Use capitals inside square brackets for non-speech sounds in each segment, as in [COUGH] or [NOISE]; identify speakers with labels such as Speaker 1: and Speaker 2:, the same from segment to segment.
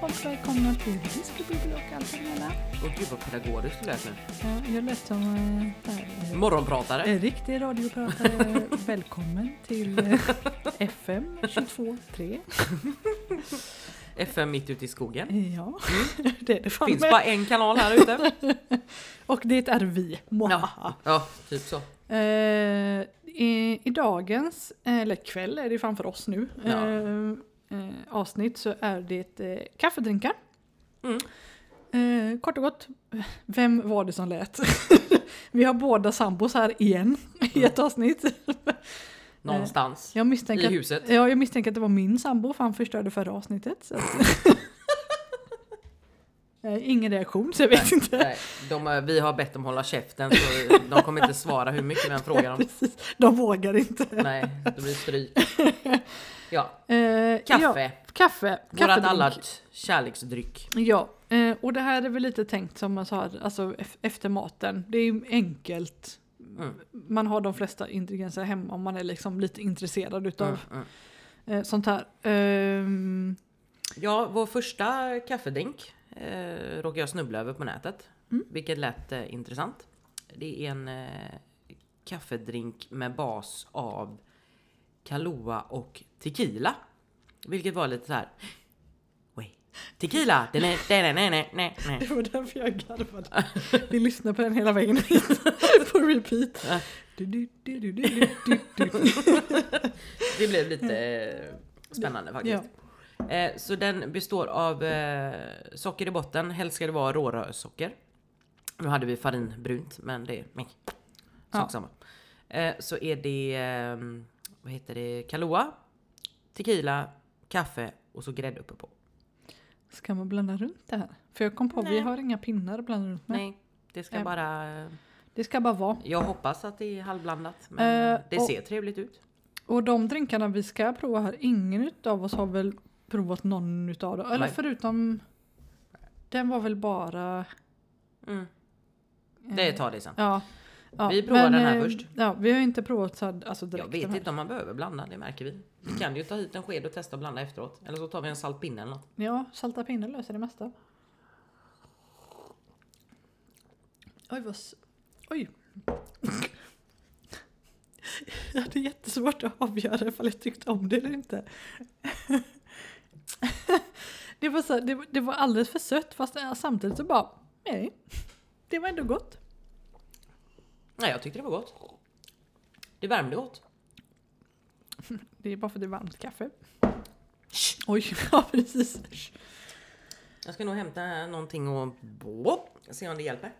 Speaker 1: Varmt välkomna till Disco Bubbel och allt vad det hela.
Speaker 2: Åh gud vad pedagogiskt du lät nu.
Speaker 1: Ja, Jag lät som eh, där, eh,
Speaker 2: Morgonpratare.
Speaker 1: en riktig [LAUGHS] radiopratare. Välkommen till eh, FM 22.3.
Speaker 2: FM mitt ute i skogen.
Speaker 1: Ja, [LAUGHS] det är det fan
Speaker 2: Finns
Speaker 1: Eh, med.
Speaker 2: bara en kanal här
Speaker 1: [LAUGHS]
Speaker 2: ute.
Speaker 1: Och det är vi.
Speaker 2: Ja, ja typ så.
Speaker 1: Eh, i, I dagens, eh, eller kväll är det framför oss nu,
Speaker 2: Ja.
Speaker 1: eh, eh, avsnitt så är det eh, kaffedrinkar.
Speaker 2: Mm.
Speaker 1: Eh, kort och gott, vem var det som lät? [LAUGHS] Vi har båda sambos här igen i ett avsnitt.
Speaker 2: Någonstans.
Speaker 1: Eh, Jag
Speaker 2: I
Speaker 1: misstänker, att,
Speaker 2: huset.
Speaker 1: ja, jag misstänker att det var min sambo för han förstörde förra avsnittet. Så att
Speaker 2: [LAUGHS]
Speaker 1: Eh, Ingen reaktion så jag vet inte.
Speaker 2: Nej, de, eh, vi har bett dem hålla käften så de kommer inte svara hur mycket vi än frågar
Speaker 1: [LAUGHS]
Speaker 2: dem.
Speaker 1: Precis, de vågar inte.
Speaker 2: Nej, det blir stryk. Ja,
Speaker 1: Eh, Ja,
Speaker 2: kaffe.
Speaker 1: kaffe.
Speaker 2: Vårat
Speaker 1: kaffedrink.
Speaker 2: allat kärleksdryck.
Speaker 1: Ja, eh, och det här är väl lite tänkt som man sa, alltså ef- efter maten. Det är ju enkelt.
Speaker 2: Mm,
Speaker 1: Man har de flesta ingredienser hemma om man är liksom lite intresserad utav
Speaker 2: mm, mm.
Speaker 1: eh, sånt här. Ehm, [LAUGHS]
Speaker 2: Ja, vår första kaffedrink eh, råkade jag snubbla över på nätet.
Speaker 1: Mm.
Speaker 2: Vilket lät eh, intressant. Det är en eh, kaffedrink med bas av Kahlua och tequila. Vilket var lite så här. Wait. Tequila! Den är, den är, nej, nej, nej, nej.
Speaker 1: det var därför jag garvade. Vi lyssnade på den hela vägen hit. [LAUGHS] på repeat.
Speaker 2: Ja.
Speaker 1: Du, du, du, du, du, du, du, du.
Speaker 2: [LAUGHS] Det blev lite eh, spännande faktiskt. Eh, så den består av eh, socker i botten. Helst ska det vara rårörsocker. Nu hade vi farinbrunt, men det är meh,
Speaker 1: Ja.
Speaker 2: sak samma. Eh, så är det, eh, vad heter det, Kahlua, tequila, kaffe och så grädde uppe på.
Speaker 1: Ska man blanda runt det här? För jag kom på, vi
Speaker 2: Nej.
Speaker 1: har inga pinnar att blanda runt med.
Speaker 2: Nej, det ska
Speaker 1: Eh.
Speaker 2: bara...
Speaker 1: Det ska bara vara.
Speaker 2: Jag hoppas att det är halvblandat, men
Speaker 1: Eh,
Speaker 2: det
Speaker 1: och-
Speaker 2: ser trevligt ut.
Speaker 1: Och de drinkarna vi ska prova här, ingen av oss har väl provat någon utav dem? Eller
Speaker 2: Nej.
Speaker 1: förutom... Den var väl bara...
Speaker 2: Mm.
Speaker 1: eh,
Speaker 2: Det tar det sen.
Speaker 1: Ja. ja.
Speaker 2: Vi provar den här
Speaker 1: eh,
Speaker 2: först.
Speaker 1: Ja, vi har inte provat så här, alltså direkt.
Speaker 2: Jag
Speaker 1: den
Speaker 2: vet
Speaker 1: här.
Speaker 2: inte om man behöver blanda, det märker vi. Vi kan ju ta hit en sked och testa att blanda efteråt. Eller så tar vi en saltpinne eller något.
Speaker 1: Ja, salta pinnar löser det mesta. Oj, vad... s- Oj. [LAUGHS] Jag hade jättesvårt att avgöra ifall jag tyckte om det eller inte. [LAUGHS] Det var, så, här, det, var- det var alldeles för sött fast eh, samtidigt så bara, nej. Det var ändå gott.
Speaker 2: Nej, jag tyckte det var gott. Det värmde gott.
Speaker 1: Det är bara för att det är varmt kaffe. Oj, [LAUGHS] ja precis.
Speaker 2: Jag ska nog hämta någonting och Boop. se om det hjälper.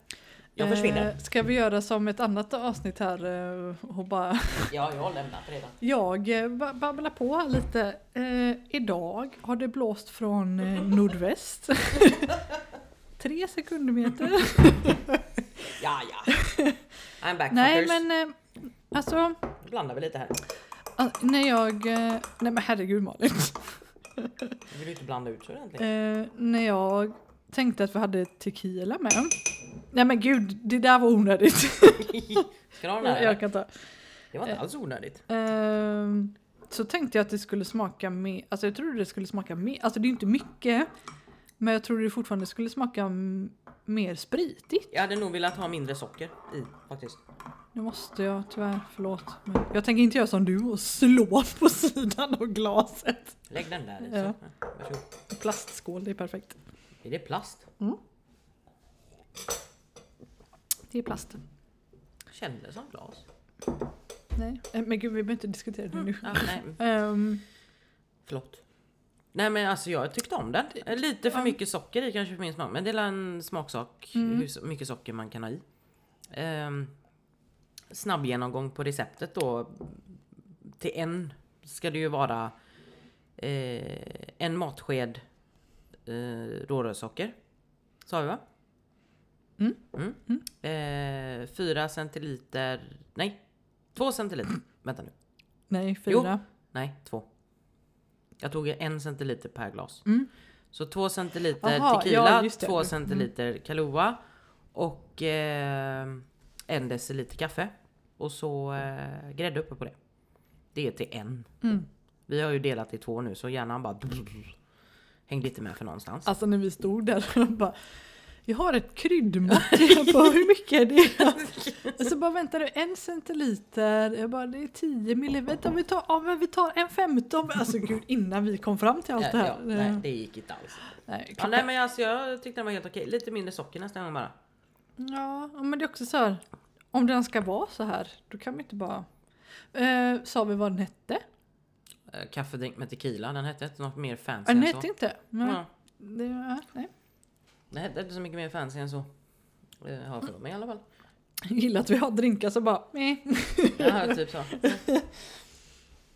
Speaker 2: Jag försvinner.
Speaker 1: Eh, ska vi göra som ett annat avsnitt här eh, och bara
Speaker 2: Ja, jag har lämnat redan.
Speaker 1: Jag eh, ba- babblar på här lite. Eh, idag har det blåst från eh, nordväst. [LAUGHS] Tre sekundmeter.
Speaker 2: Ja,
Speaker 1: [LAUGHS]
Speaker 2: ja. I'm back
Speaker 1: Nej
Speaker 2: fuckers.
Speaker 1: men eh, alltså,
Speaker 2: Blandar vi lite här.
Speaker 1: ah, när jag... Eh, nej men herregud Malin.
Speaker 2: Du vill ju inte blanda ut så ordentligt.
Speaker 1: Eh, när jag tänkte att vi hade tequila med. Nej men gud, det där var onödigt.
Speaker 2: [LAUGHS] Ska du ha den här?
Speaker 1: jag kan eh. ta.
Speaker 2: Det var inte alls onödigt.
Speaker 1: Ehm, så tänkte jag att det skulle smaka mer, alltså jag trodde det skulle smaka mer, alltså det är ju inte mycket. Men jag trodde det fortfarande skulle smaka m- mer spritigt.
Speaker 2: Jag hade nog velat ha mindre socker i faktiskt.
Speaker 1: Nu måste jag tyvärr, förlåt. Men jag tänker inte göra som du och slå på sidan av glaset.
Speaker 2: Lägg den där i. Så.
Speaker 1: Ja.
Speaker 2: Ja, Varsågod.
Speaker 1: Plastskål, det är perfekt.
Speaker 2: Är det plast?
Speaker 1: Det är plast.
Speaker 2: Kändes som glas.
Speaker 1: Nej, eh, men gud vi behöver inte diskutera det nu.
Speaker 2: Ja, nej,
Speaker 1: Ehm,
Speaker 2: förlåt. Nej men alltså jag tyckte om den. Lite för mycket socker i kanske för min smak. Men det är en smaksak hur so- mycket socker man kan ha i. Ehm, snabb genomgång på receptet då. Till en ska det ju vara eh, en matsked eh, rårörssocker. Sa vi va?
Speaker 1: Mm.
Speaker 2: Mm. Eh, fyra centiliter, nej, två centiliter. Vänta nu.
Speaker 1: nej, fyra.
Speaker 2: Nej, två. Jag tog en centiliter per glas.
Speaker 1: Mm.
Speaker 2: Så två centiliter
Speaker 1: Aha, ja,
Speaker 2: tequila,
Speaker 1: just det.
Speaker 2: två
Speaker 1: Mm.
Speaker 2: centiliter Kahlua och eh, en deciliter kaffe. Och så eh, grädde uppe på det. Det är till en.
Speaker 1: Mm.
Speaker 2: Vi har ju delat i två nu så hjärnan bara... Hängde inte med för någonstans.
Speaker 1: Alltså när vi stod där och bara jag har ett
Speaker 2: [LAUGHS]
Speaker 1: kryddmått, jag bara hur mycket är det? Och så bara väntar du en centiliter, jag bara det är 10 milliliter, vänta vi tar, ja, men vi tar en 15, alltså gud innan vi kom fram till allt det
Speaker 2: Eh, Ja,
Speaker 1: här. Eh,
Speaker 2: ja, nej, det gick inte alls.
Speaker 1: nej,
Speaker 2: Ja, nej men alltså, jag tyckte den var helt okej. Lite mindre socker nästa gång bara.
Speaker 1: Ja, men det är också så här. Om den ska vara så här, då kan man inte bara... Eh, sa vi vad den hette?
Speaker 2: Eh, Kaffedrink med tequila, den hette inte något mer fancy
Speaker 1: Den
Speaker 2: än
Speaker 1: hette
Speaker 2: så.
Speaker 1: inte. Men
Speaker 2: Ja,
Speaker 1: det, ja, nej.
Speaker 2: den hette inte så mycket mer fancy än så. Eh, Har jag för
Speaker 1: Mm.
Speaker 2: mig i alla fall.
Speaker 1: Jag gillar att vi har drinkar så bara... Nej.
Speaker 2: Ja, typ så.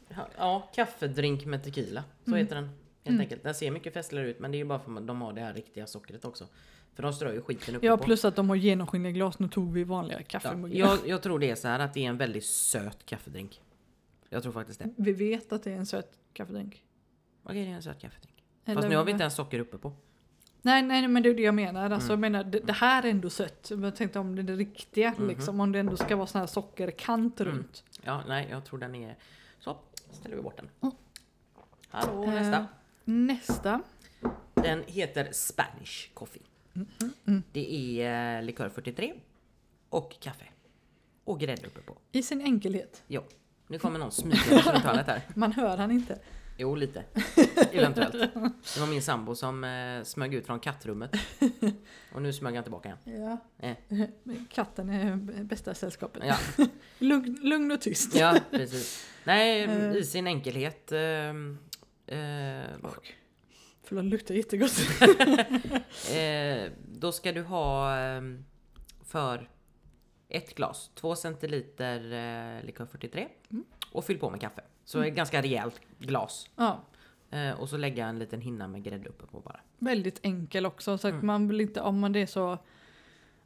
Speaker 2: Ja, Ja, kaffedrink med tequila. Så
Speaker 1: Mm.
Speaker 2: heter den. Helt enkelt. Den ser mycket festligare ut men det är ju bara för att de har det här riktiga sockret också. För de strör ju skiten uppe
Speaker 1: Ja,
Speaker 2: på.
Speaker 1: plus att de har genomskinliga glas. Nu tog vi vanliga
Speaker 2: ja,
Speaker 1: kaffemuggar.
Speaker 2: jag, jag tror det är så här att det är en väldigt söt kaffedrink. Jag tror faktiskt det.
Speaker 1: Vi vet att det är en söt kaffedrink.
Speaker 2: Okej, det är en söt kaffedrink. Fast
Speaker 1: Eller-
Speaker 2: nu har vi inte ens socker uppe på.
Speaker 1: Nej, nej, men det är det jag menar. Alltså,
Speaker 2: Mm.
Speaker 1: jag menar det, det här är ändå sött. Men jag tänkte om det är det riktiga,
Speaker 2: Mhm.
Speaker 1: liksom, om det ändå ska vara sån här sockerkant
Speaker 2: Mm.
Speaker 1: runt.
Speaker 2: Ja, nej, jag tror den är... Så, ställer vi bort den.
Speaker 1: Mm.
Speaker 2: Hallå,
Speaker 1: Eh,
Speaker 2: nästa.
Speaker 1: Nästa.
Speaker 2: Den heter Spanish Coffee. Det är eh, likör 43 och kaffe. Och grädde uppe på.
Speaker 1: I sin enkelhet.
Speaker 2: Jo, nu kommer någon smyga runt hörnet här.
Speaker 1: Man hör han inte.
Speaker 2: Jo, lite. Eventuellt. Det var min sambo som eh, smög ut från kattrummet. Och nu smög han tillbaka igen.
Speaker 1: Ja.
Speaker 2: Eh,
Speaker 1: Men [LAUGHS] Katten är b- bästa sällskapet.
Speaker 2: ja,
Speaker 1: [LAUGHS] Lugn, lugn och tyst.
Speaker 2: ja, precis. Nej, i sin enkelhet. Eh, eh,
Speaker 1: Och, förlåt, det luktar
Speaker 2: [LAUGHS]
Speaker 1: jättegott.
Speaker 2: Eh, då ska du ha ehm, för ett glas, två centiliter eh, likör 43 och fyll på med kaffe. Så ett ganska rejält glas.
Speaker 1: ja,
Speaker 2: Eh, och så lägga en liten hinna med grädde uppe på bara.
Speaker 1: väldigt enkel också. Så att man vill inte, om man det är så...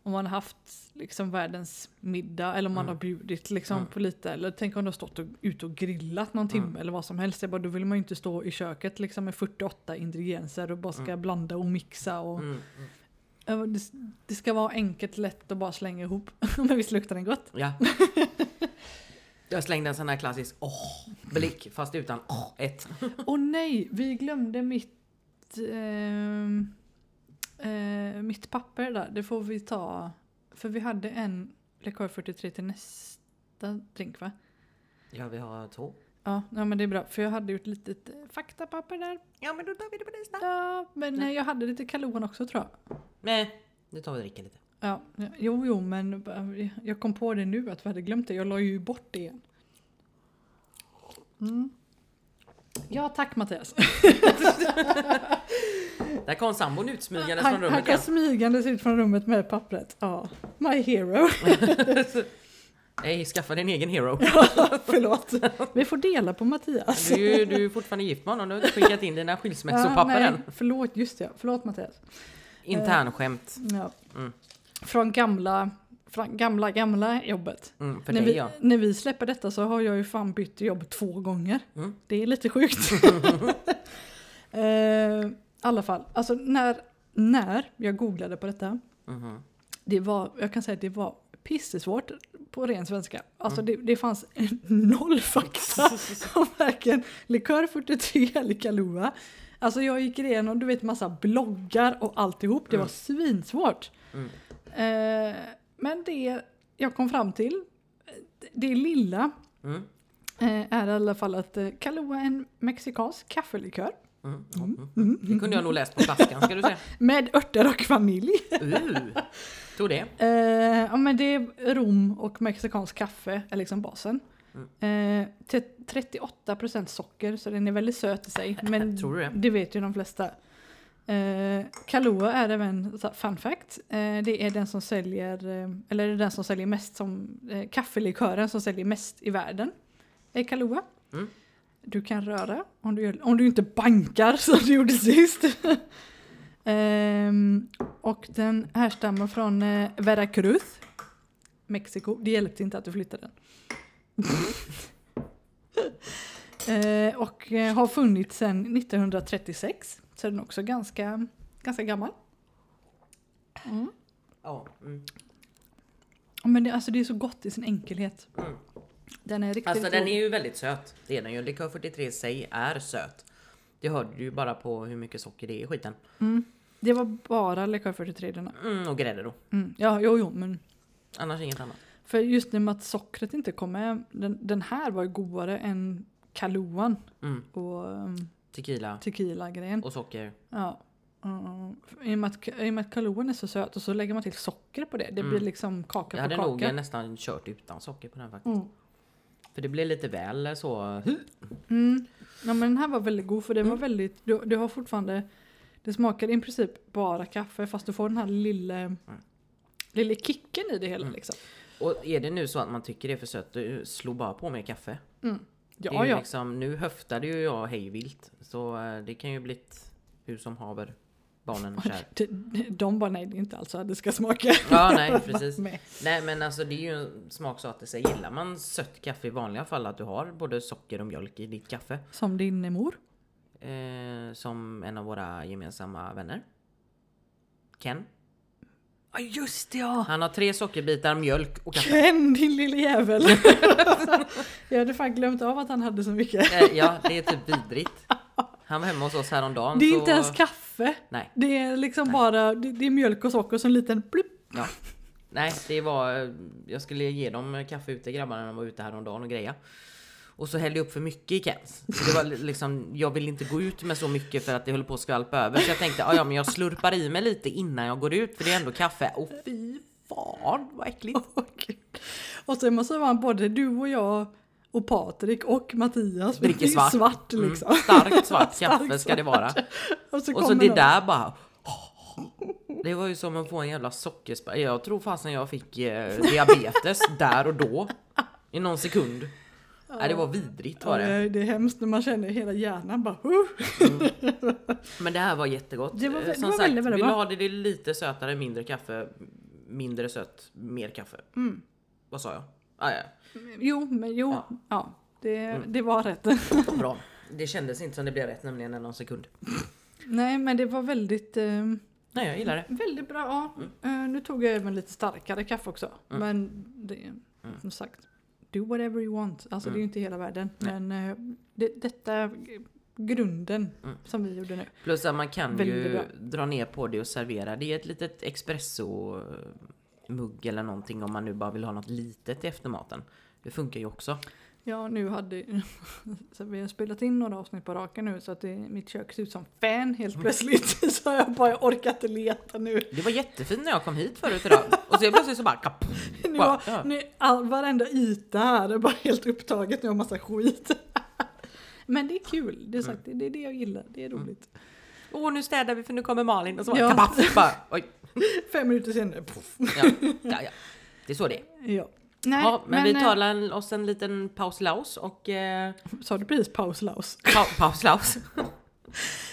Speaker 1: Om man har haft liksom världens middag eller om man har bjudit liksom på lite. Eller tänk om du har stått och, ute och grillat någon timme eller vad som helst. Jag bara, då vill man ju inte stå i köket liksom, med 48 ingredienser och bara ska blanda och mixa. Och,
Speaker 2: Mm.
Speaker 1: Ja, det, det ska vara enkelt, lätt och bara slänga ihop. [LAUGHS] Men visst luktar den gott?
Speaker 2: [LAUGHS] Ja. Jag slängde en sån här klassisk åh blick fast utan åh ett.
Speaker 1: Åh nej, vi glömde mitt, ehm, eh, mitt papper där. Det får vi ta. För vi hade en Lekör 43 till nästa drink va?
Speaker 2: Ja vi har två.
Speaker 1: Ja, ja, men det är bra. För jag hade gjort lite faktapapper där.
Speaker 2: Ja men då tar vi det på nästa.
Speaker 1: Ja, men eh, jag hade lite kalon också tror jag.
Speaker 2: Nej, nu tar vi och dricker lite.
Speaker 1: Ja, ja, jo, jo, men eh, jag kom på det nu att vi hade glömt det. Jag la ju bort det igen. Mm. Ja, tack Mattias.
Speaker 2: Där kom sambon utsmygandes från
Speaker 1: Han, han
Speaker 2: rummet
Speaker 1: kom
Speaker 2: igen.
Speaker 1: smygandes ut från rummet med pappret. Ja, my
Speaker 2: [LAUGHS]
Speaker 1: hero.
Speaker 2: Nej, skaffa din egen hero.
Speaker 1: Förlåt. Vi får dela på Mattias.
Speaker 2: Du, är ju- du är fortfarande gift med honom, du har inte skickat in dina skilsmässopapper än.
Speaker 1: Ah, förlåt, just det. Förlåt Mattias.
Speaker 2: Internskämt.
Speaker 1: Ja.
Speaker 2: Mm.
Speaker 1: Från gamla, från gamla, gamla jobbet.
Speaker 2: Mm, för
Speaker 1: när,
Speaker 2: dig
Speaker 1: vi,
Speaker 2: ja.
Speaker 1: när vi släpper detta så har jag ju fan bytt jobb två gånger.
Speaker 2: Mm.
Speaker 1: Det är lite sjukt.
Speaker 2: [LAUGHS]
Speaker 1: eh, I alla fall, alltså när, när jag googlade på detta
Speaker 2: Mhm.
Speaker 1: Det var, jag kan säga att det var pissesvårt på ren svenska. Alltså
Speaker 2: Mm.
Speaker 1: det, det fanns noll fakta
Speaker 2: [LAUGHS]
Speaker 1: om varken likör 43 eller Kahlua. Alltså jag gick igenom du vet massa bloggar och alltihop. Det var svinsvårt.
Speaker 2: Mm.
Speaker 1: Eh, men det jag kom fram till, det- det lilla
Speaker 2: Mm.
Speaker 1: eh, är i alla fall att eh, Kahlua är en mexikansk kaffelikör
Speaker 2: Mm. Mm. Mm. Det kunde jag nog läst på flaskan ska du säga.
Speaker 1: med örter och vanilj.
Speaker 2: Uh. Tog det.
Speaker 1: Eh, ja, men det är rom och mexikansk kaffe är liksom basen.
Speaker 2: Mm.
Speaker 1: Eh, till 38% socker så den är väldigt söt i
Speaker 2: [LAUGHS]
Speaker 1: sig. Men
Speaker 2: Tror du det?
Speaker 1: vet ju de flesta. Eh, Kahlua är även, så här, fun fact, eh, det är den som säljer, eh, eller det är den som säljer mest som, eh, kaffelikören som säljer mest i världen. Är Kahlua.
Speaker 2: Mm.
Speaker 1: Du kan röra om du, gör, om du inte bankar [LAUGHS] som du gjorde sist. [LAUGHS] Ehm, och den härstammar från eh, Veracruz, Mexiko. Det hjälpte inte att du flyttade den. [LAUGHS] Eh, och eh, har funnits sedan 1936. Så den är också ganska, ganska gammal. Mm.
Speaker 2: Ja. Mm.
Speaker 1: Men det, alltså, det är så gott i sin enkelhet.
Speaker 2: Mm.
Speaker 1: Den är riktigt
Speaker 2: Alltså den
Speaker 1: god.
Speaker 2: är ju väldigt söt. Det är den ju. Likör 43 i sig är söt. Det hörde du ju bara på hur mycket socker det är i skiten.
Speaker 1: Mm. Det var bara likör 43 denna.
Speaker 2: Mm, och grädde då.
Speaker 1: Mm. Ja, jo, jo, men
Speaker 2: Annars inget annat.
Speaker 1: för just nu med att sockret inte kom med. Den, den här var ju godare än Kaluan
Speaker 2: Mm.
Speaker 1: och um,
Speaker 2: Tequila
Speaker 1: tequila-grejen.
Speaker 2: och socker.
Speaker 1: Ja. Mm. I, och med att, I och med att Kaluan är så söt och så lägger man till socker på det. Det
Speaker 2: Mm.
Speaker 1: blir liksom kaka
Speaker 2: Jag hade
Speaker 1: på
Speaker 2: nog
Speaker 1: kaka.
Speaker 2: nästan kört utan socker på den faktiskt.
Speaker 1: Mm.
Speaker 2: För det blev lite väl så...
Speaker 1: Mm. Ja, men den här var väldigt god för den var väldigt, du, du har fortfarande, det smakar i princip bara kaffe fast du får den här lilla, lilla kicken i det hela
Speaker 2: Mm.
Speaker 1: liksom.
Speaker 2: Och är det nu så att man tycker det är för sött, du slå bara på med kaffe. det
Speaker 1: Ja,
Speaker 2: är ju
Speaker 1: ja.
Speaker 2: liksom, nu höftade ju jag hejvilt. Så eh, det kan ju bli hur som haver. Barnen kär.
Speaker 1: [LAUGHS] De, de bara nej det är inte alls så här det ska smaka. [LAUGHS]
Speaker 2: Ja, nej precis.
Speaker 1: Med.
Speaker 2: Nej men alltså det är ju en smaksak till sig. Gillar man sött kaffe i vanliga fall att du har både socker och mjölk i ditt kaffe.
Speaker 1: Som din mor.
Speaker 2: Eh, som en av våra gemensamma vänner. Ken.
Speaker 1: Ja just det ja!
Speaker 2: Han har tre sockerbitar, mjölk
Speaker 1: [LAUGHS]
Speaker 2: och kaffe.
Speaker 1: Ken din lille jävel! [LAUGHS] jag hade fan glömt av att han hade så mycket.
Speaker 2: Eh, ja, det är typ vidrigt. Han var hemma hos oss häromdagen.
Speaker 1: Det är
Speaker 2: så...
Speaker 1: inte ens kaffe.
Speaker 2: Nej.
Speaker 1: Det är liksom bara, det, det är mjölk och socker och så en liten blipp.
Speaker 2: Ja. Nej, det var... Jag skulle ge dem kaffe ute, grabbarna, när de var ute häromdagen och greja. Och så hällde jag upp för mycket i Kens. Så det var li- liksom, jag ville inte gå ut med så mycket för att det höll på att skvalpa över. Så jag tänkte, "Ah, ja men jag slurpar i mig lite innan jag går ut för det är ändå kaffe. Och fy fan vad äckligt.
Speaker 1: Åh, gud. Och sen måste man både du och jag och Patrik och Mattias vi
Speaker 2: Dricker
Speaker 1: blir
Speaker 2: svart.
Speaker 1: svart liksom.
Speaker 2: Mm, starkt svart
Speaker 1: Starkt
Speaker 2: kaffe ska det
Speaker 1: [LAUGHS]
Speaker 2: vara.
Speaker 1: Och så,
Speaker 2: Och så
Speaker 1: kommer
Speaker 2: det
Speaker 1: de.
Speaker 2: där bara... Det var ju som att få en jävla sockerspärr. Jag tror fasen jag fick eh,
Speaker 1: [LAUGHS]
Speaker 2: diabetes där och då. I någon sekund. Nej det var vidrigt var det.
Speaker 1: Ja, Eh, det är hemskt när man känner hela hjärnan bara huh.
Speaker 2: Mm. Men det här var jättegott.
Speaker 1: Det var vä-
Speaker 2: Eh,
Speaker 1: det
Speaker 2: Som
Speaker 1: var
Speaker 2: sagt,
Speaker 1: väldigt, väldigt
Speaker 2: vill du
Speaker 1: bra.
Speaker 2: ha det, det är lite sötare, mindre kaffe. Mindre sött, mer kaffe. Vad sa jag? Ah, ja.
Speaker 1: Mm. Jo, men jo. Ja. det,
Speaker 2: Mm.
Speaker 1: det var rätt.
Speaker 2: Bra. Det kändes inte som det blev rätt nämligen en någon sekund.
Speaker 1: Nej men det var väldigt, eh,
Speaker 2: Nej jag gillar det.
Speaker 1: väldigt bra. Ja. Eh, nu tog jag även lite starkare kaffe också. Men det, som sagt, do whatever you want. Alltså det är ju inte hela världen. Men eh, det, detta är grunden som vi gjorde nu.
Speaker 2: Plus att man kan
Speaker 1: Väldigt
Speaker 2: ju
Speaker 1: bra.
Speaker 2: dra ner på det och servera det i ett litet espresso-mugg eller någonting om man nu bara vill ha något litet i eftermaten. Det funkar ju också.
Speaker 1: Ja, nu hade... [LAUGHS] Så vi har spelat in några avsnitt på raken nu så att det, mitt kök ser ut som fan helt plötsligt. [LAUGHS] Så jag bara, jag orkar inte leta nu.
Speaker 2: Det var jättefint när jag kom hit förut idag och så plötsligt så bara [LAUGHS] kapp.
Speaker 1: nu,
Speaker 2: Bara,
Speaker 1: har,
Speaker 2: ja.
Speaker 1: nu all, varenda yta här är bara helt upptaget nu av massa skit. [LAUGHS] Men det är kul, det är, sagt, det, är det jag gillar, det är roligt.
Speaker 2: Åh nu städar vi för nu kommer Malin och så bara
Speaker 1: Ja.
Speaker 2: kapaff. [LAUGHS] Bara, oj.
Speaker 1: Fem minuter senare, [LAUGHS] poff.
Speaker 2: Ja, ja, ja. Det är så det är.
Speaker 1: Ja. Nej,
Speaker 2: Ja, men, vi
Speaker 1: eh,
Speaker 2: tar en- oss en liten paus laus och... Eh,
Speaker 1: Sa du precis paus Laus?
Speaker 2: pa- [LAUGHS] paus laus.
Speaker 1: [LAUGHS]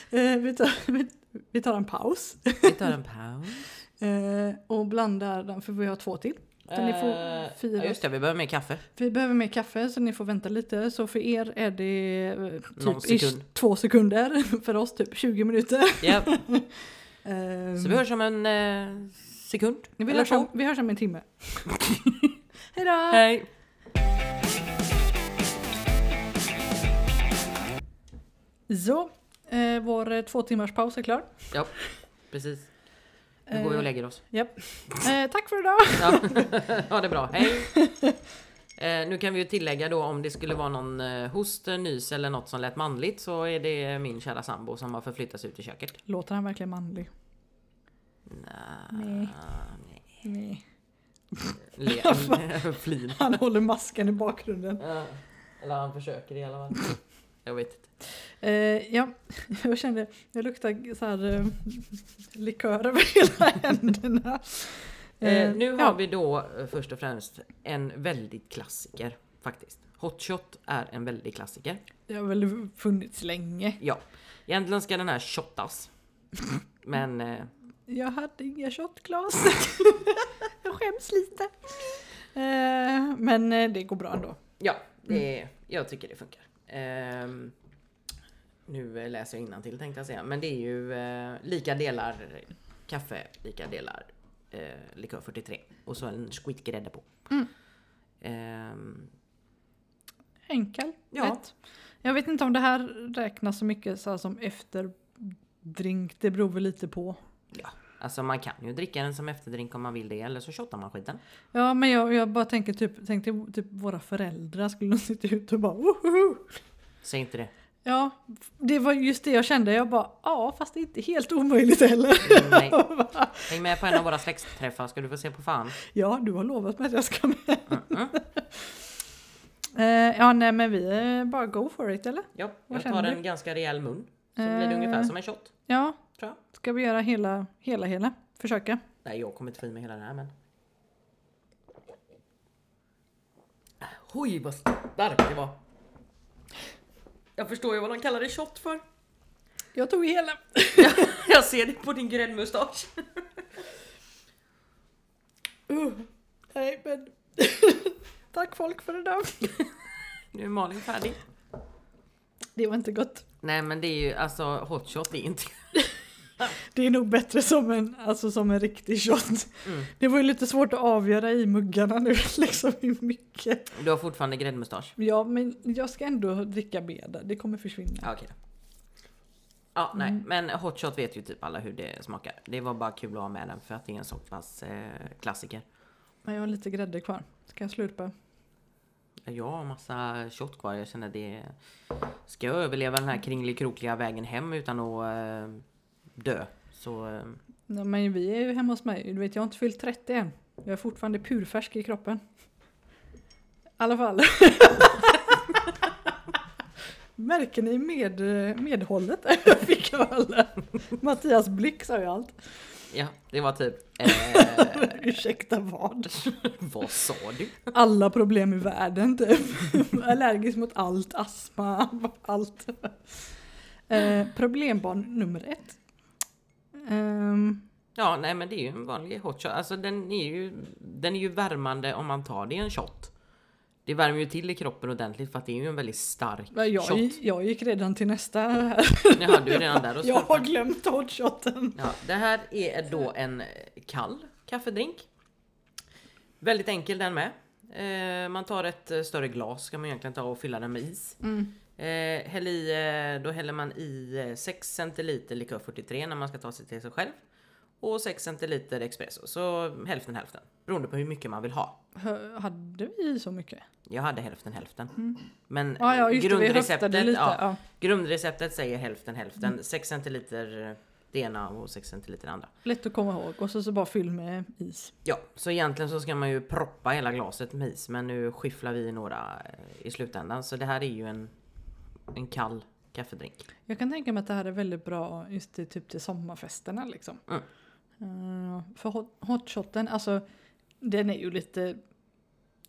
Speaker 1: Eh, vi, tar, [LAUGHS] vi, vi tar en paus
Speaker 2: Vi tar en paus.
Speaker 1: eh, och blandar den, för vi har två till. Så ni
Speaker 2: Eh,
Speaker 1: får
Speaker 2: ja,
Speaker 1: fyra
Speaker 2: just det, vi behöver mer kaffe.
Speaker 1: Vi behöver mer kaffe så ni får vänta lite. Så för er är det eh,
Speaker 2: Någon
Speaker 1: typ ish,
Speaker 2: sekund.
Speaker 1: två sekunder. [LAUGHS] För oss typ 20 minuter.
Speaker 2: [LAUGHS] Ja,
Speaker 1: [LAUGHS] Ehm,
Speaker 2: så vi hörs om en eh, sekund.
Speaker 1: vi,
Speaker 2: eller
Speaker 1: hörs om,
Speaker 2: två.
Speaker 1: vi hörs om en timme. Hejdå!
Speaker 2: Hej!
Speaker 1: Så, eh, vår eh, två timmars paus är klar.
Speaker 2: Ja, precis.
Speaker 1: Eh.
Speaker 2: Nu går vi och
Speaker 1: [LAUGHS]
Speaker 2: lägger oss.
Speaker 1: Japp. Eh, tack för idag!
Speaker 2: Ja, [LAUGHS] ha det bra. Hej! Eh, nu kan vi ju tillägga då om det skulle vara någon eh, host, nys eller något som lät manligt så är det min kära sambo som har förflyttats ut i köket.
Speaker 1: Låter han verkligen manlig? Nej. Nej. [LAUGHS]
Speaker 2: Le- [LAUGHS] Flin.
Speaker 1: Han håller masken i bakgrunden.
Speaker 2: Ja, Eller han försöker i alla fall. Jag vet inte.
Speaker 1: Eh, ja, [LAUGHS] jag kände, jag luktar så här eh, likör över [LAUGHS] hela händerna.
Speaker 2: Eh, nu har
Speaker 1: ja.
Speaker 2: vi då eh, först och främst en väldigt klassiker faktiskt. Hot shot är en väldig klassiker.
Speaker 1: Det har väl funnits länge.
Speaker 2: Ja, egentligen ska den här shottas. Men eh,
Speaker 1: Jag hade inga
Speaker 2: [LAUGHS]
Speaker 1: shotglas. jag skäms lite. Eh, men eh, det går bra ändå.
Speaker 2: ja, det,
Speaker 1: Mm.
Speaker 2: jag tycker det funkar. Ehm, nu eh, läser jag till tänkte jag säga. Men det är ju eh, lika delar kaffe, lika delar eh, likör 43 och så en
Speaker 1: Mm.
Speaker 2: skitgrädde på. Ehm,
Speaker 1: Enkel.
Speaker 2: Ja.
Speaker 1: Lätt. Jag vet inte om det här räknas så mycket så här som efterdrink. Det beror väl lite på.
Speaker 2: Alltså man kan ju dricka den som efterdrink om man vill det eller så shottar man skiten.
Speaker 1: Ja men jag, jag bara tänker typ, tänkte typ våra föräldrar skulle nog sitta ute och bara woho!
Speaker 2: Säg
Speaker 1: [LAUGHS]
Speaker 2: inte det.
Speaker 1: Ja, det var just det jag kände. Jag bara ja fast det är inte helt omöjligt heller. [LAUGHS]
Speaker 2: Nej. Häng med på en av våra släktträffar ska du få se på fan. Mm,
Speaker 1: ja du har lovat mig att jag ska med.
Speaker 2: Mm-mm.
Speaker 1: Eh, ja nej men vi eh, bara go for it eller?
Speaker 2: Ja,
Speaker 1: Vad
Speaker 2: jag tar
Speaker 1: känner
Speaker 2: en ganska rejäl mun. Så blir det
Speaker 1: Eh.
Speaker 2: ungefär som en shot.
Speaker 1: Ja.
Speaker 2: Tror jag.
Speaker 1: Ska vi göra hela, hela, hela? Försöka.
Speaker 2: Nej jag kommer inte få i mig hela den här men. Oj vad stark det var. Jag förstår ju vad de kallar det shot för. [LAUGHS]
Speaker 1: Jag tog hela.
Speaker 2: Jag ser det på din gräddmustasch.
Speaker 1: Uh, nej men. [LAUGHS] Tack folk för idag.
Speaker 2: Nu är Malin färdig.
Speaker 1: Det var inte gott.
Speaker 2: Nej men det är ju alltså hotshot det är inte.
Speaker 1: Det är nog bättre som en, alltså som en riktig shot.
Speaker 2: Mm.
Speaker 1: Det var ju lite svårt att avgöra i muggarna nu [LAUGHS] liksom hur mycket.
Speaker 2: Du har fortfarande gräddmustasch.
Speaker 1: Ja men jag ska ändå dricka mer där. Det kommer försvinna.
Speaker 2: Ja, okej. Mm. Ja, nej, men hotshot vet ju typ alla hur det smakar. Det var bara kul att ha med den för att det är en så pass eh, klassiker.
Speaker 1: Men jag har lite grädde kvar. Ska jag slurpa?
Speaker 2: Jag har massa shot kvar. Jag känner det. Ska jag överleva den här kringelikrokliga vägen hem utan att eh, dö så eh,
Speaker 1: Nej, men vi är ju hemma hos mig. Du vet jag har inte fyllt 30 än. Jag är fortfarande purfärsk i kroppen. I alla fall. [LAUGHS] Märker ni med, eh, medhållet? [LAUGHS] Jag fick av alla. Mattias blick sa ju allt. [LAUGHS]
Speaker 2: ja, det var typ. Eh,
Speaker 1: Ursäkta [LAUGHS] vad?
Speaker 2: vad sa du?
Speaker 1: Alla problem i världen typ. [LAUGHS] Allergisk mot allt, astma, [LAUGHS] allt. Eh, problembarn nummer ett. Ehm,
Speaker 2: Ja, nej, men det är ju en vanlig hotshot. Alltså, den är ju. Den är ju värmande om man tar det i en shot. Det värmer ju till i kroppen ordentligt för att det är ju en väldigt stark
Speaker 1: Men jag,
Speaker 2: shot.
Speaker 1: gick- jag gick redan till nästa här.
Speaker 2: Jaha, du är redan där
Speaker 1: [LAUGHS]
Speaker 2: och
Speaker 1: Jag
Speaker 2: skorpar.
Speaker 1: har glömt hotshoten.
Speaker 2: Ja, det här är då en eh, kall kaffedrink. Väldigt enkel den med. Eh, man tar ett eh, större glas ska man egentligen ta och fylla den med is.
Speaker 1: Mm.
Speaker 2: Eh, häll i, eh, då häller man i eh, 6 centiliter likör 43 när man ska ta sig till sig själv. Och 6 centiliter espresso, så hälften hälften. Beroende på hur mycket man vill ha.
Speaker 1: Hö- Hade vi så mycket?
Speaker 2: Jag hade hälften hälften. Men
Speaker 1: Mm. Ja, ja
Speaker 2: eh,
Speaker 1: just det, vi höftade lite.
Speaker 2: ja,
Speaker 1: Ja.
Speaker 2: grundreceptet säger hälften hälften. 6 centiliter eh, det ena och 6 centiliter det andra.
Speaker 1: Lätt att komma ihåg. Och så, så bara fyll med is.
Speaker 2: Ja, så egentligen så ska man ju proppa hela glaset med is men nu skifflar vi i några eh, i slutändan så det här är ju en, en kall kaffedrink.
Speaker 1: Jag kan tänka mig att det här är väldigt bra just till, typ till sommarfesterna liksom.
Speaker 2: Mm.
Speaker 1: Eh, för hot, hotshoten, alltså den är ju lite...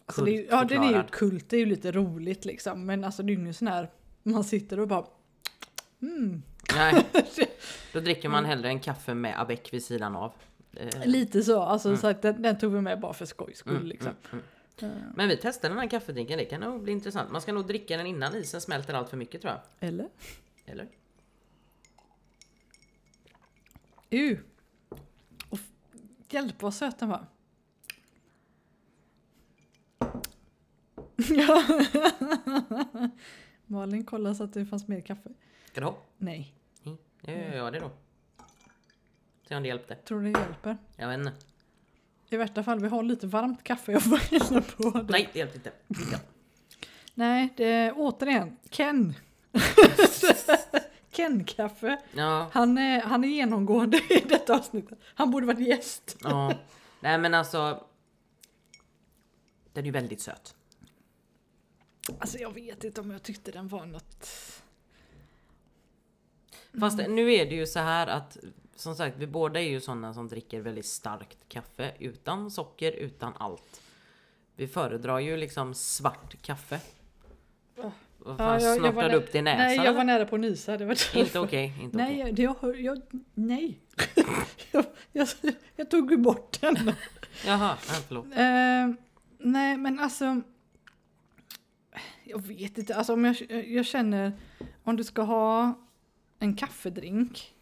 Speaker 1: Alltså, det är, ju- ja den är ju
Speaker 2: Kultförklarad.
Speaker 1: kult, det är ju lite roligt liksom. Men alltså det är ju ingen sån här, man sitter och bara... Mm.
Speaker 2: Nej,
Speaker 1: [LAUGHS]
Speaker 2: då dricker man hellre en kaffe med avec vid sidan av. Eh, mm,
Speaker 1: Lite så, alltså så att den, den tog vi med bara för skojs skull liksom. Eh,
Speaker 2: Men vi testar den här kaffedrinken, det kan nog bli intressant. Man ska nog dricka den innan isen smälter allt för mycket tror jag.
Speaker 1: Eller?
Speaker 2: Eller?
Speaker 1: Uh. Och f- hjälp vad söt den var. Ja. [LAUGHS] Malin kollade så att det fanns mer kaffe.
Speaker 2: Ska du ha?
Speaker 1: Nej,
Speaker 2: Mm. Ja, ja, ja, det då. Se om det hjälpte.
Speaker 1: tror det hjälper.
Speaker 2: Jag vet inte.
Speaker 1: I värsta fall, vi har lite varmt kaffe jag får hälla på det.
Speaker 2: Nej, det hjälpte inte. Ja.
Speaker 1: Nej, det, återigen, [LAUGHS] Ken. Ken-kaffe.
Speaker 2: Ja,
Speaker 1: Han är, han är genomgående i detta avsnittet. Han borde varit gäst. [LAUGHS]
Speaker 2: ja. Nej men alltså. Den är ju väldigt söt.
Speaker 1: Alltså jag vet inte om jag tyckte den var något...
Speaker 2: Fast
Speaker 1: Mm.
Speaker 2: nu är det ju så här att som sagt, vi båda är ju sådana som dricker väldigt starkt kaffe utan socker, utan allt. Vi föredrar ju liksom svart kaffe.
Speaker 1: Ah.
Speaker 2: Vad fan, snortar du upp din näsa?
Speaker 1: Nej, jag var
Speaker 2: eller?
Speaker 1: nära på att nysa. Det var
Speaker 2: Inte okej, inte okej.
Speaker 1: Nej, jag, det- jag, hör- jag, nej. [LAUGHS] jag, jag, jag tog ju bort den.
Speaker 2: Jaha, nej, förlåt.
Speaker 1: Eh, nej, men alltså. Jag vet inte. Alltså, om jag, jag känner om du ska ha en kaffedrink.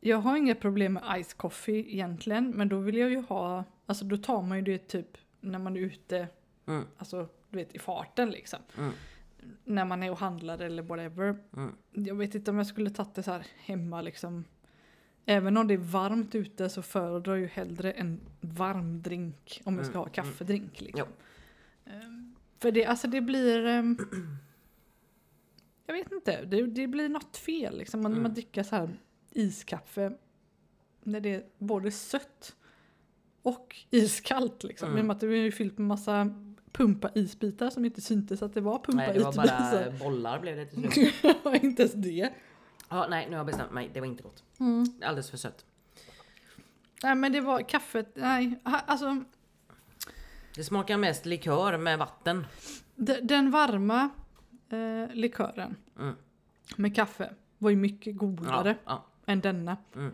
Speaker 1: Jag har inga problem med ice coffee egentligen, men då vill jag ju ha. Alltså, då tar man ju det typ när man är ute.
Speaker 2: Mm.
Speaker 1: Alltså, du vet i farten liksom.
Speaker 2: Mm.
Speaker 1: när man är och handlar eller whatever.
Speaker 2: Mm.
Speaker 1: Jag vet inte om jag skulle tagit det så här hemma liksom. Även om det är varmt ute så föredrar jag ju hellre en varm drink om jag
Speaker 2: Mm,
Speaker 1: ska ha kaffedrink. Liksom. Ehm, För det, alltså det blir... ehm, jag vet inte, det, det blir något fel liksom. Man,
Speaker 2: Mm.
Speaker 1: man dricker så här iskaffe när det är både sött och iskallt. Liksom.
Speaker 2: Mm.
Speaker 1: I och med att det är ju fyllt med massa pumpa isbitar som inte syntes att det var pumpa
Speaker 2: Nej det var
Speaker 1: isbitar. [LAUGHS]
Speaker 2: [LAUGHS] bara bollar blev det till slut.
Speaker 1: Det var inte ens det.
Speaker 2: Ja, nej nu har jag bestämt mig, det var inte gott. Alldeles för sött.
Speaker 1: Nej men det var kaffet, nej. ha- Alltså
Speaker 2: Det smakar mest likör med vatten.
Speaker 1: de- den varma eh, likören
Speaker 2: Mm.
Speaker 1: med kaffe var ju mycket
Speaker 2: Ja,
Speaker 1: godare
Speaker 2: ja.
Speaker 1: än denna.
Speaker 2: Mm.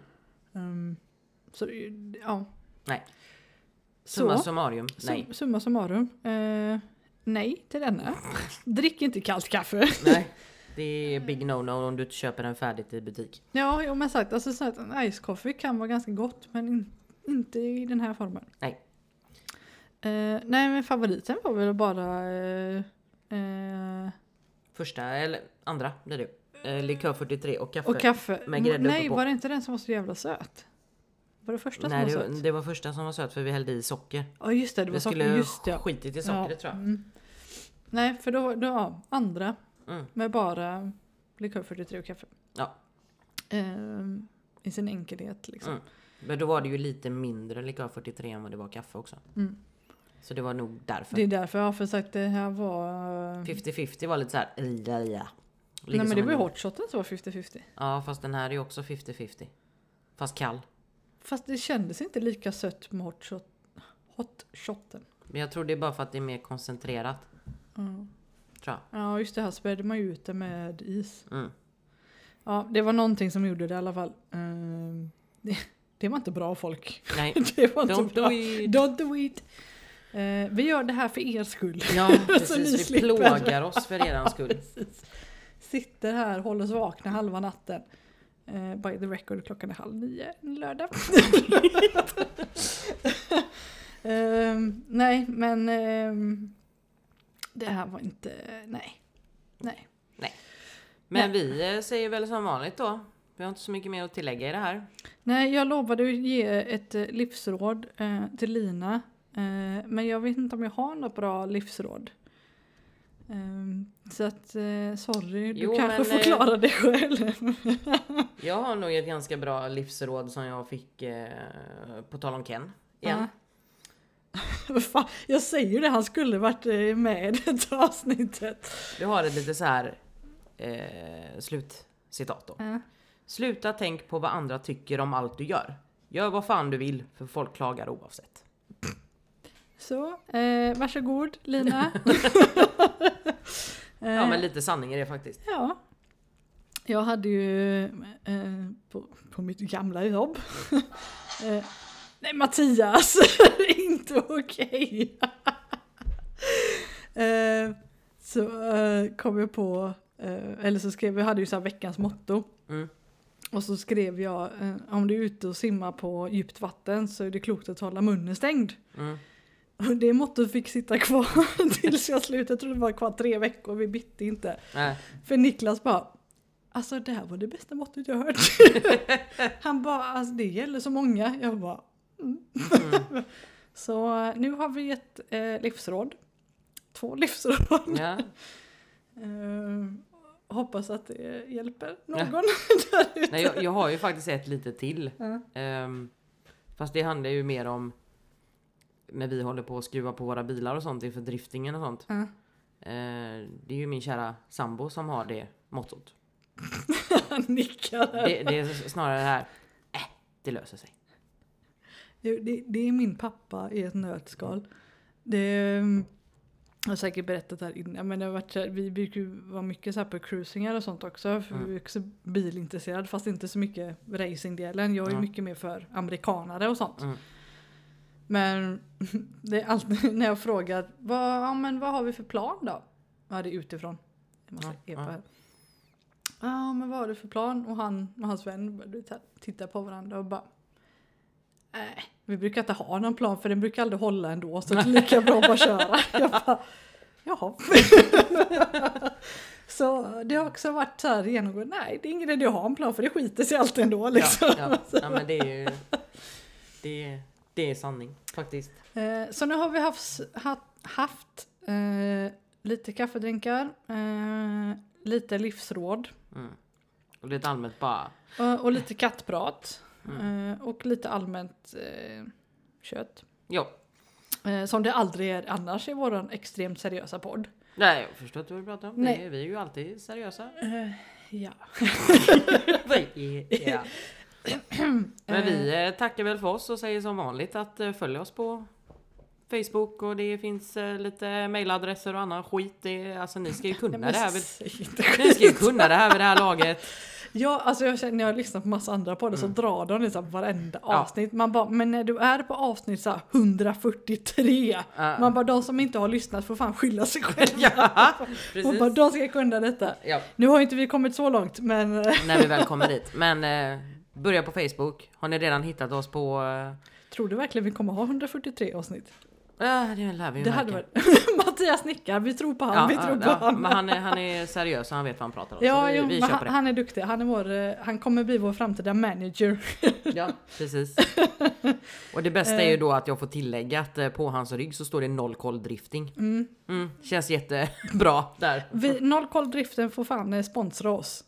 Speaker 1: Ehm, så det är ju- ja.
Speaker 2: Nej.
Speaker 1: Så,
Speaker 2: Summa summarum, nej.
Speaker 1: sum- summa summarum. Eh, nej till
Speaker 2: [LAUGHS]
Speaker 1: denna. Drick inte kallt kaffe.
Speaker 2: nej. Det är big no-no om du inte köper den färdigt i butik.
Speaker 1: ja, jo men sagt, alltså, så att en ice coffee kan vara ganska gott men in, inte i den här formen.
Speaker 2: Nej.
Speaker 1: Eh, nej men favoriten var väl bara eh, eh,
Speaker 2: Första eller andra blir det. Eh, likör 43 och kaffe.
Speaker 1: Och kaffe.
Speaker 2: med grädde
Speaker 1: Nej,
Speaker 2: uppe på.
Speaker 1: var det inte den som var så jävla söt? Var det första
Speaker 2: Nej
Speaker 1: som var
Speaker 2: det,
Speaker 1: söt?
Speaker 2: det var första som var söt för vi hällde i socker.
Speaker 1: Ja just det, det
Speaker 2: Det
Speaker 1: var
Speaker 2: vi
Speaker 1: socker.
Speaker 2: skulle
Speaker 1: Just det, ja.
Speaker 2: skitit i sockret
Speaker 1: Ja,
Speaker 2: tror jag.
Speaker 1: mm. Nej, för då, då ja, andra
Speaker 2: Mm.
Speaker 1: med bara likör 43 och kaffe.
Speaker 2: Ja.
Speaker 1: Ehm, I sin enkelhet liksom.
Speaker 2: Mm. Men då var det ju lite mindre likör 43 än vad det var kaffe också.
Speaker 1: Mm.
Speaker 2: Så det var nog därför.
Speaker 1: Det är därför jag har försökt det här var...
Speaker 2: 50-50 var lite såhär... Ja, ja. Ligger
Speaker 1: Nej men
Speaker 2: som
Speaker 1: det
Speaker 2: en-
Speaker 1: var ju hotshoten som var 50-50.
Speaker 2: Ja fast den här är ju också 50-50. Fast kall.
Speaker 1: Fast det kändes inte lika sött med hotshot, hotshoten.
Speaker 2: Men jag tror det är bara för att det är mer koncentrerat.
Speaker 1: Mm.
Speaker 2: Tror
Speaker 1: Ja just det, här spädde man ju ut det med is.
Speaker 2: jag. Mm.
Speaker 1: Ja, det var någonting som gjorde det i alla fall. Ehm, det, det var inte bra folk. [LAUGHS]
Speaker 2: Nej.
Speaker 1: Det var inte
Speaker 2: Don't
Speaker 1: bra.
Speaker 2: do it!
Speaker 1: Don't do it. Eh, vi gör det här för er
Speaker 2: [LAUGHS]
Speaker 1: skull.
Speaker 2: Ja
Speaker 1: ni
Speaker 2: precis, vi
Speaker 1: slipper.
Speaker 2: plågar oss för eran skull.
Speaker 1: Precis. Sitter här, håller oss vakna halva natten. Eh, by the record, klockan är halv nio en
Speaker 2: [LAUGHS]
Speaker 1: lördag. Ehm, nej, men ehm, det här var inte... Nej. Nej.
Speaker 2: Men vi eh, säger väl som vanligt då. Vi har inte så mycket mer att tillägga i det här.
Speaker 1: Nej, jag lovade att ge ett eh, livsråd eh, till Lina. Eh, men jag vet inte om jag har något bra livsråd. Ehm, så att, eh, sorry, du
Speaker 2: Jo,
Speaker 1: kanske
Speaker 2: men,
Speaker 1: får
Speaker 2: eh,
Speaker 1: klara dig
Speaker 2: [LAUGHS]
Speaker 1: själv.
Speaker 2: Jag har nog ett ganska bra livsråd som jag fick eh, på tal om Ken. Igen.
Speaker 1: [LAUGHS] Vad fan, jag säger ju det, han skulle varit eh, med i det här avsnittet.
Speaker 2: Du har ett lite så här eh, slutcitat då.
Speaker 1: Ja.
Speaker 2: Sluta tänk på vad andra tycker om allt du gör. Gör vad fan du vill för folk klagar oavsett.
Speaker 1: Så, eh, varsågod Lina. Eh,
Speaker 2: [LAUGHS] Ja men lite sanning är det faktiskt.
Speaker 1: Ja. Jag hade ju eh, på, på mitt gamla jobb. [LAUGHS] eh, nej Mattias, [LAUGHS] det är inte okej. [LAUGHS] eh, så eh, kom jag på, eh, eller så skrev jag, hade ju så här veckans motto.
Speaker 2: Mm.
Speaker 1: Och så skrev jag, eh, om du är ute och simmar på djupt vatten så är det klokt att hålla munnen stängd.
Speaker 2: Mm.
Speaker 1: Och det mottot fick sitta kvar [LAUGHS] tills jag slutade, jag tror det var kvar tre veckor, vi bytte inte.
Speaker 2: Nej.
Speaker 1: För Niklas bara Alltså det här var det bästa måttet jag
Speaker 2: [LAUGHS]
Speaker 1: hört. Han bara alltså det gäller så många. Jag bara mm. Så eh, nu har vi ett eh, livsråd. Två livsråd.
Speaker 2: Ja.
Speaker 1: Eh, hoppas att det hjälper
Speaker 2: Ja.
Speaker 1: någon [LAUGHS] där ute.
Speaker 2: Nej, jag, jag har ju faktiskt ett lite till.
Speaker 1: Ja.
Speaker 2: Ehm, fast det handlar ju mer om när vi håller på att skruva på våra bilar och sånt inför driftingen och sånt.
Speaker 1: Ja.
Speaker 2: Ehm, det är ju min kära sambo som har det mottot.
Speaker 1: Han nickar. här.
Speaker 2: Det, det är snarare det här, äh, det löser sig.
Speaker 1: Jo, Det, det är min pappa i ett nötskal. Det, mm, jag har säkert berättat här innan men det har varit, så här- vi brukar ju vara mycket så här på cruisingar och sånt också. För Vi är också bilintresserade fast inte så mycket racingdelen. Jag är ju
Speaker 2: Ja.
Speaker 1: mycket mer för amerikanare och sånt.
Speaker 2: Mm.
Speaker 1: Men [LAUGHS] det är alltid [LAUGHS] när jag frågar vad, ja, men vad har vi för plan då? Ja det är utifrån. Jag måste
Speaker 2: Ja,
Speaker 1: epa
Speaker 2: ja.
Speaker 1: här. Ja men vad har du för plan? Och han och hans vän du vet, tittar på varandra och bara "Äh, Nej,
Speaker 2: [LAUGHS]
Speaker 1: vi brukar inte ha någon plan för den brukar aldrig hålla ändå så det är lika bra att bara köra. Jag bara, Jaha. så det har också varit så här genomgående. Nej, det är ingen idé att ha en plan för det skiter sig alltid ändå. Liksom.
Speaker 2: Ja, ja. ja men det är ju... Det är, det är sanning faktiskt.
Speaker 1: Eh, Så nu har vi haft, haft, haft eh, lite kaffedrinkar, eh, lite livsråd eh,
Speaker 2: Mm. Och lite allmänt bara... mm.
Speaker 1: och, och lite kattprat. eh, Och lite allmänt eh, kött.
Speaker 2: Ja.
Speaker 1: Eh, Som det aldrig är annars i våran extremt seriösa podd.
Speaker 2: Nej, jag förstår att du vill prata om.
Speaker 1: Nej.
Speaker 2: Nej. Vi är ju alltid seriösa.
Speaker 1: Ja. [CLEARS THROAT]
Speaker 2: ja. Men vi eh, tackar väl för oss och säger som vanligt att eh, följ oss på Facebook och det finns eh, lite mailadresser och annan skit. Det, är- alltså ni ska ju kunna det här. vid- Ni ska ju kunna det här vid det
Speaker 1: [LAUGHS]
Speaker 2: här laget.
Speaker 1: Ja, alltså jag känner när jag har lyssnat på massa andra poddar så drar de liksom varenda avsnitt. Man bara, men när du är på avsnitt så här 143,
Speaker 2: Ja.
Speaker 1: man bara de som inte har lyssnat får fan skylla sig själva.
Speaker 2: Ja,
Speaker 1: Man bara
Speaker 2: [LAUGHS] precis.
Speaker 1: de ska kunna detta.
Speaker 2: Ja,
Speaker 1: Nu har inte vi kommit så långt men eh,
Speaker 2: när vi väl kommer dit. Men eh, börja på Facebook. Har ni redan hittat oss på... Eh,
Speaker 1: tror du verkligen vi kommer ha 143 avsnitt?
Speaker 2: ah, det lär vi ju
Speaker 1: Det hade
Speaker 2: märka.
Speaker 1: varit... [LAUGHS] Mattias nickar, vi tror på han, vi tror på han.
Speaker 2: Men han är, han är seriös och han vet vad han pratar om.
Speaker 1: Ja,
Speaker 2: så vi,
Speaker 1: jo,
Speaker 2: vi
Speaker 1: men
Speaker 2: köper
Speaker 1: han,
Speaker 2: det.
Speaker 1: han är duktig. Han, är vår, eh, han kommer bli vår framtida manager.
Speaker 2: Ja,
Speaker 1: [LAUGHS]
Speaker 2: precis. Och det bästa
Speaker 1: Eh.
Speaker 2: är ju då att jag får tillägga att eh, på hans rygg så står det noll koll drifting. Mm, känns jättebra där.
Speaker 1: [LAUGHS] Vi, noll koll driften får fan eh, sponsra oss.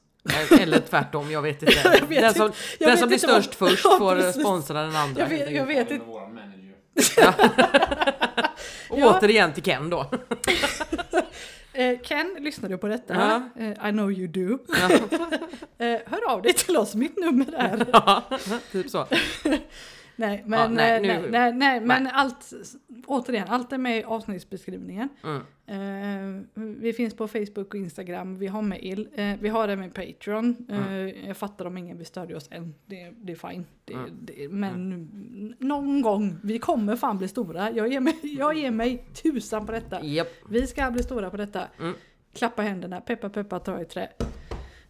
Speaker 2: Eller tvärtom, jag vet inte.
Speaker 1: vet
Speaker 2: den som,
Speaker 1: inte. [LAUGHS] Jag
Speaker 2: den
Speaker 1: vet
Speaker 2: som blir
Speaker 1: inte vad-
Speaker 2: störst
Speaker 1: [LAUGHS]
Speaker 2: först
Speaker 1: Ja,
Speaker 2: får eh,
Speaker 1: precis.
Speaker 2: sponsra den andra.
Speaker 1: Jag vet, jag vet
Speaker 3: Eller
Speaker 1: inte.
Speaker 3: vår manager.
Speaker 2: [LAUGHS] Och
Speaker 1: Ja.
Speaker 2: Återigen till Ken då.
Speaker 1: Eh, Ken, lyssnar du på detta?
Speaker 2: Ja.
Speaker 1: Eh, I know you do.
Speaker 2: Ja.
Speaker 1: [LAUGHS] Eh, hör av dig till oss, mitt nummer är...
Speaker 2: [LAUGHS] Ja, typ så.
Speaker 1: Nej, men,
Speaker 2: Ja, nej,
Speaker 1: eh, nej,
Speaker 2: nu-
Speaker 1: nej, nej, men allt, återigen, allt är med i avsnittsbeskrivningen.
Speaker 2: Mm.
Speaker 1: Eh, vi finns på Facebook och Instagram, vi har mail, eh, vi har även Patreon. Eh,
Speaker 2: Mm.
Speaker 1: Jag fattar om ingen vill stödja oss än, det, det är fine. Det, det, men
Speaker 2: Mm.
Speaker 1: n- någon gång, vi kommer fan bli stora. Jag ger mig, jag ger mig tusan på detta.
Speaker 2: Japp.
Speaker 1: Vi ska bli stora på detta.
Speaker 2: Mm.
Speaker 1: Klappa händerna, peppa peppa ta i trä.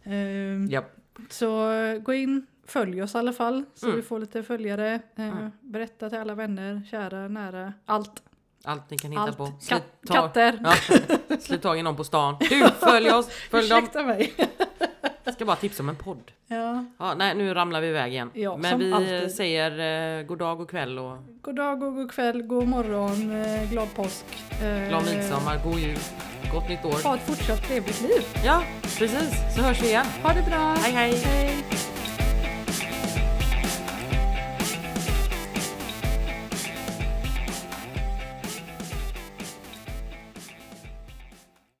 Speaker 1: Ehm,
Speaker 2: Japp.
Speaker 1: Så eh, gå in, följ oss i alla fall så
Speaker 2: Mm.
Speaker 1: vi får lite följare. Ehm, Berätta till alla vänner, kära, nära, allt.
Speaker 2: Allt ni kan hitta
Speaker 1: allt.
Speaker 2: på.
Speaker 1: Kat-
Speaker 2: Slut tag-
Speaker 1: katter.
Speaker 2: Ja. Slut tag i någon på stan. Du, följ oss!
Speaker 1: [LAUGHS]
Speaker 2: Följ dem!
Speaker 1: Ursäkta mig.
Speaker 2: Ska bara tipsa om en podd.
Speaker 1: ja.
Speaker 2: Ja, nej, nu ramlar vi iväg igen.
Speaker 1: Ja,
Speaker 2: Men
Speaker 1: som
Speaker 2: vi eh,
Speaker 1: alltid.
Speaker 2: säger eh, god dag och kväll och
Speaker 1: God dag och god kväll, god morgon, eh, glad påsk. Ehm,
Speaker 2: glad midsommar, god jul, gott nytt år.
Speaker 1: Ha ett fortsatt trevligt liv.
Speaker 2: Ja, precis. Så hörs vi igen.
Speaker 1: Ha det bra.
Speaker 2: Hej, hej.
Speaker 1: hej.